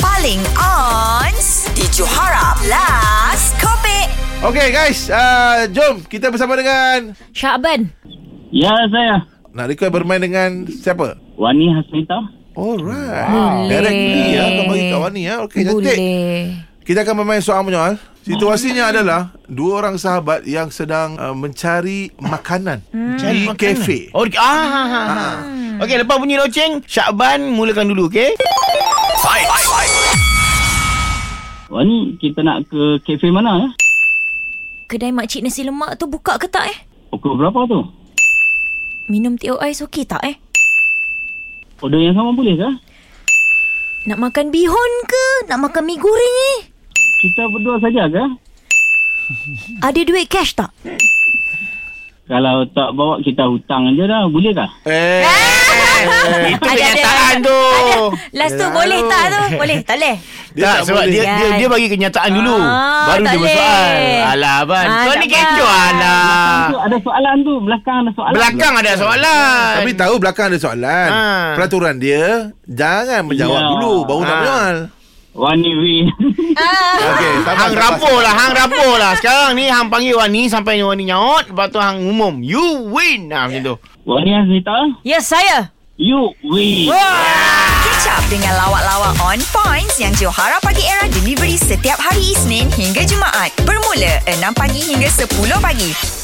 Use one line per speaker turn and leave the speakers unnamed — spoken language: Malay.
paling on di Johara Plus Kopi.
Okay guys uh, Jom Kita bersama dengan
Syakban
Ya saya
Nak request bermain dengan Siapa?
Wani Hasmita
Alright
Boleh.
Directly ya Kau bagi kat Wani ya Okay cantik
Boleh
Kita akan bermain soal
Ah.
menyoal Situasinya adalah Dua orang sahabat Yang sedang uh, mencari makanan Di
Hmm. Makanan.
kafe
Oh, di- ah, ha, ha, ha. Okey, lepas bunyi loceng, Syakban mulakan dulu, okey?
Wani kita nak ke kafe mana ya?
Kedai makcik nasi lemak tu buka ke tak eh?
Pukul berapa tu?
Minum teh ais okey tak eh?
Order yang sama boleh ke?
Nak makan bihun ke? Nak makan mi goreng eh?
Kita berdua saja ke?
Ada duit cash tak?
Kalau tak bawa kita hutang aja dah boleh ke?
Eh
Itu
Eh. Ada,
kenyataan
ada.
tu.
Last tu
Yelah.
boleh tak tu? Boleh tak boleh?
Dia tak, sebab dia, dia dia bagi kenyataan dulu.
Ah,
Baru
tak
dia bersoal.
boleh.
Alah, Ban.
Ah,
Kau
tak
ni
apa.
kecoh, alah.
Belakang tu ada soalan tu, belakang ada soalan.
Ah. Belakang ada soalan.
Tapi tahu belakang ada soalan
Ha.
Peraturan dia Jangan menjawab
Ya.
dulu Baru nak
Ha.
menyoal
Wani we.
Okay sabar,
Ah. Hang
sabar,
rapuh
sabar.
lah Hang rapuh lah Sekarang ni Hang panggil Wani Sampai Wani nyaut Lepas tu Hang umum You win Nah macam tu
Wani Hasmita,
Yes, saya.
you we.
Catch up dengan lawak-lawak on points yang Johara Pagi Era delivery setiap hari Isnin hingga Jumaat. Bermula 6 pagi hingga 10 pagi.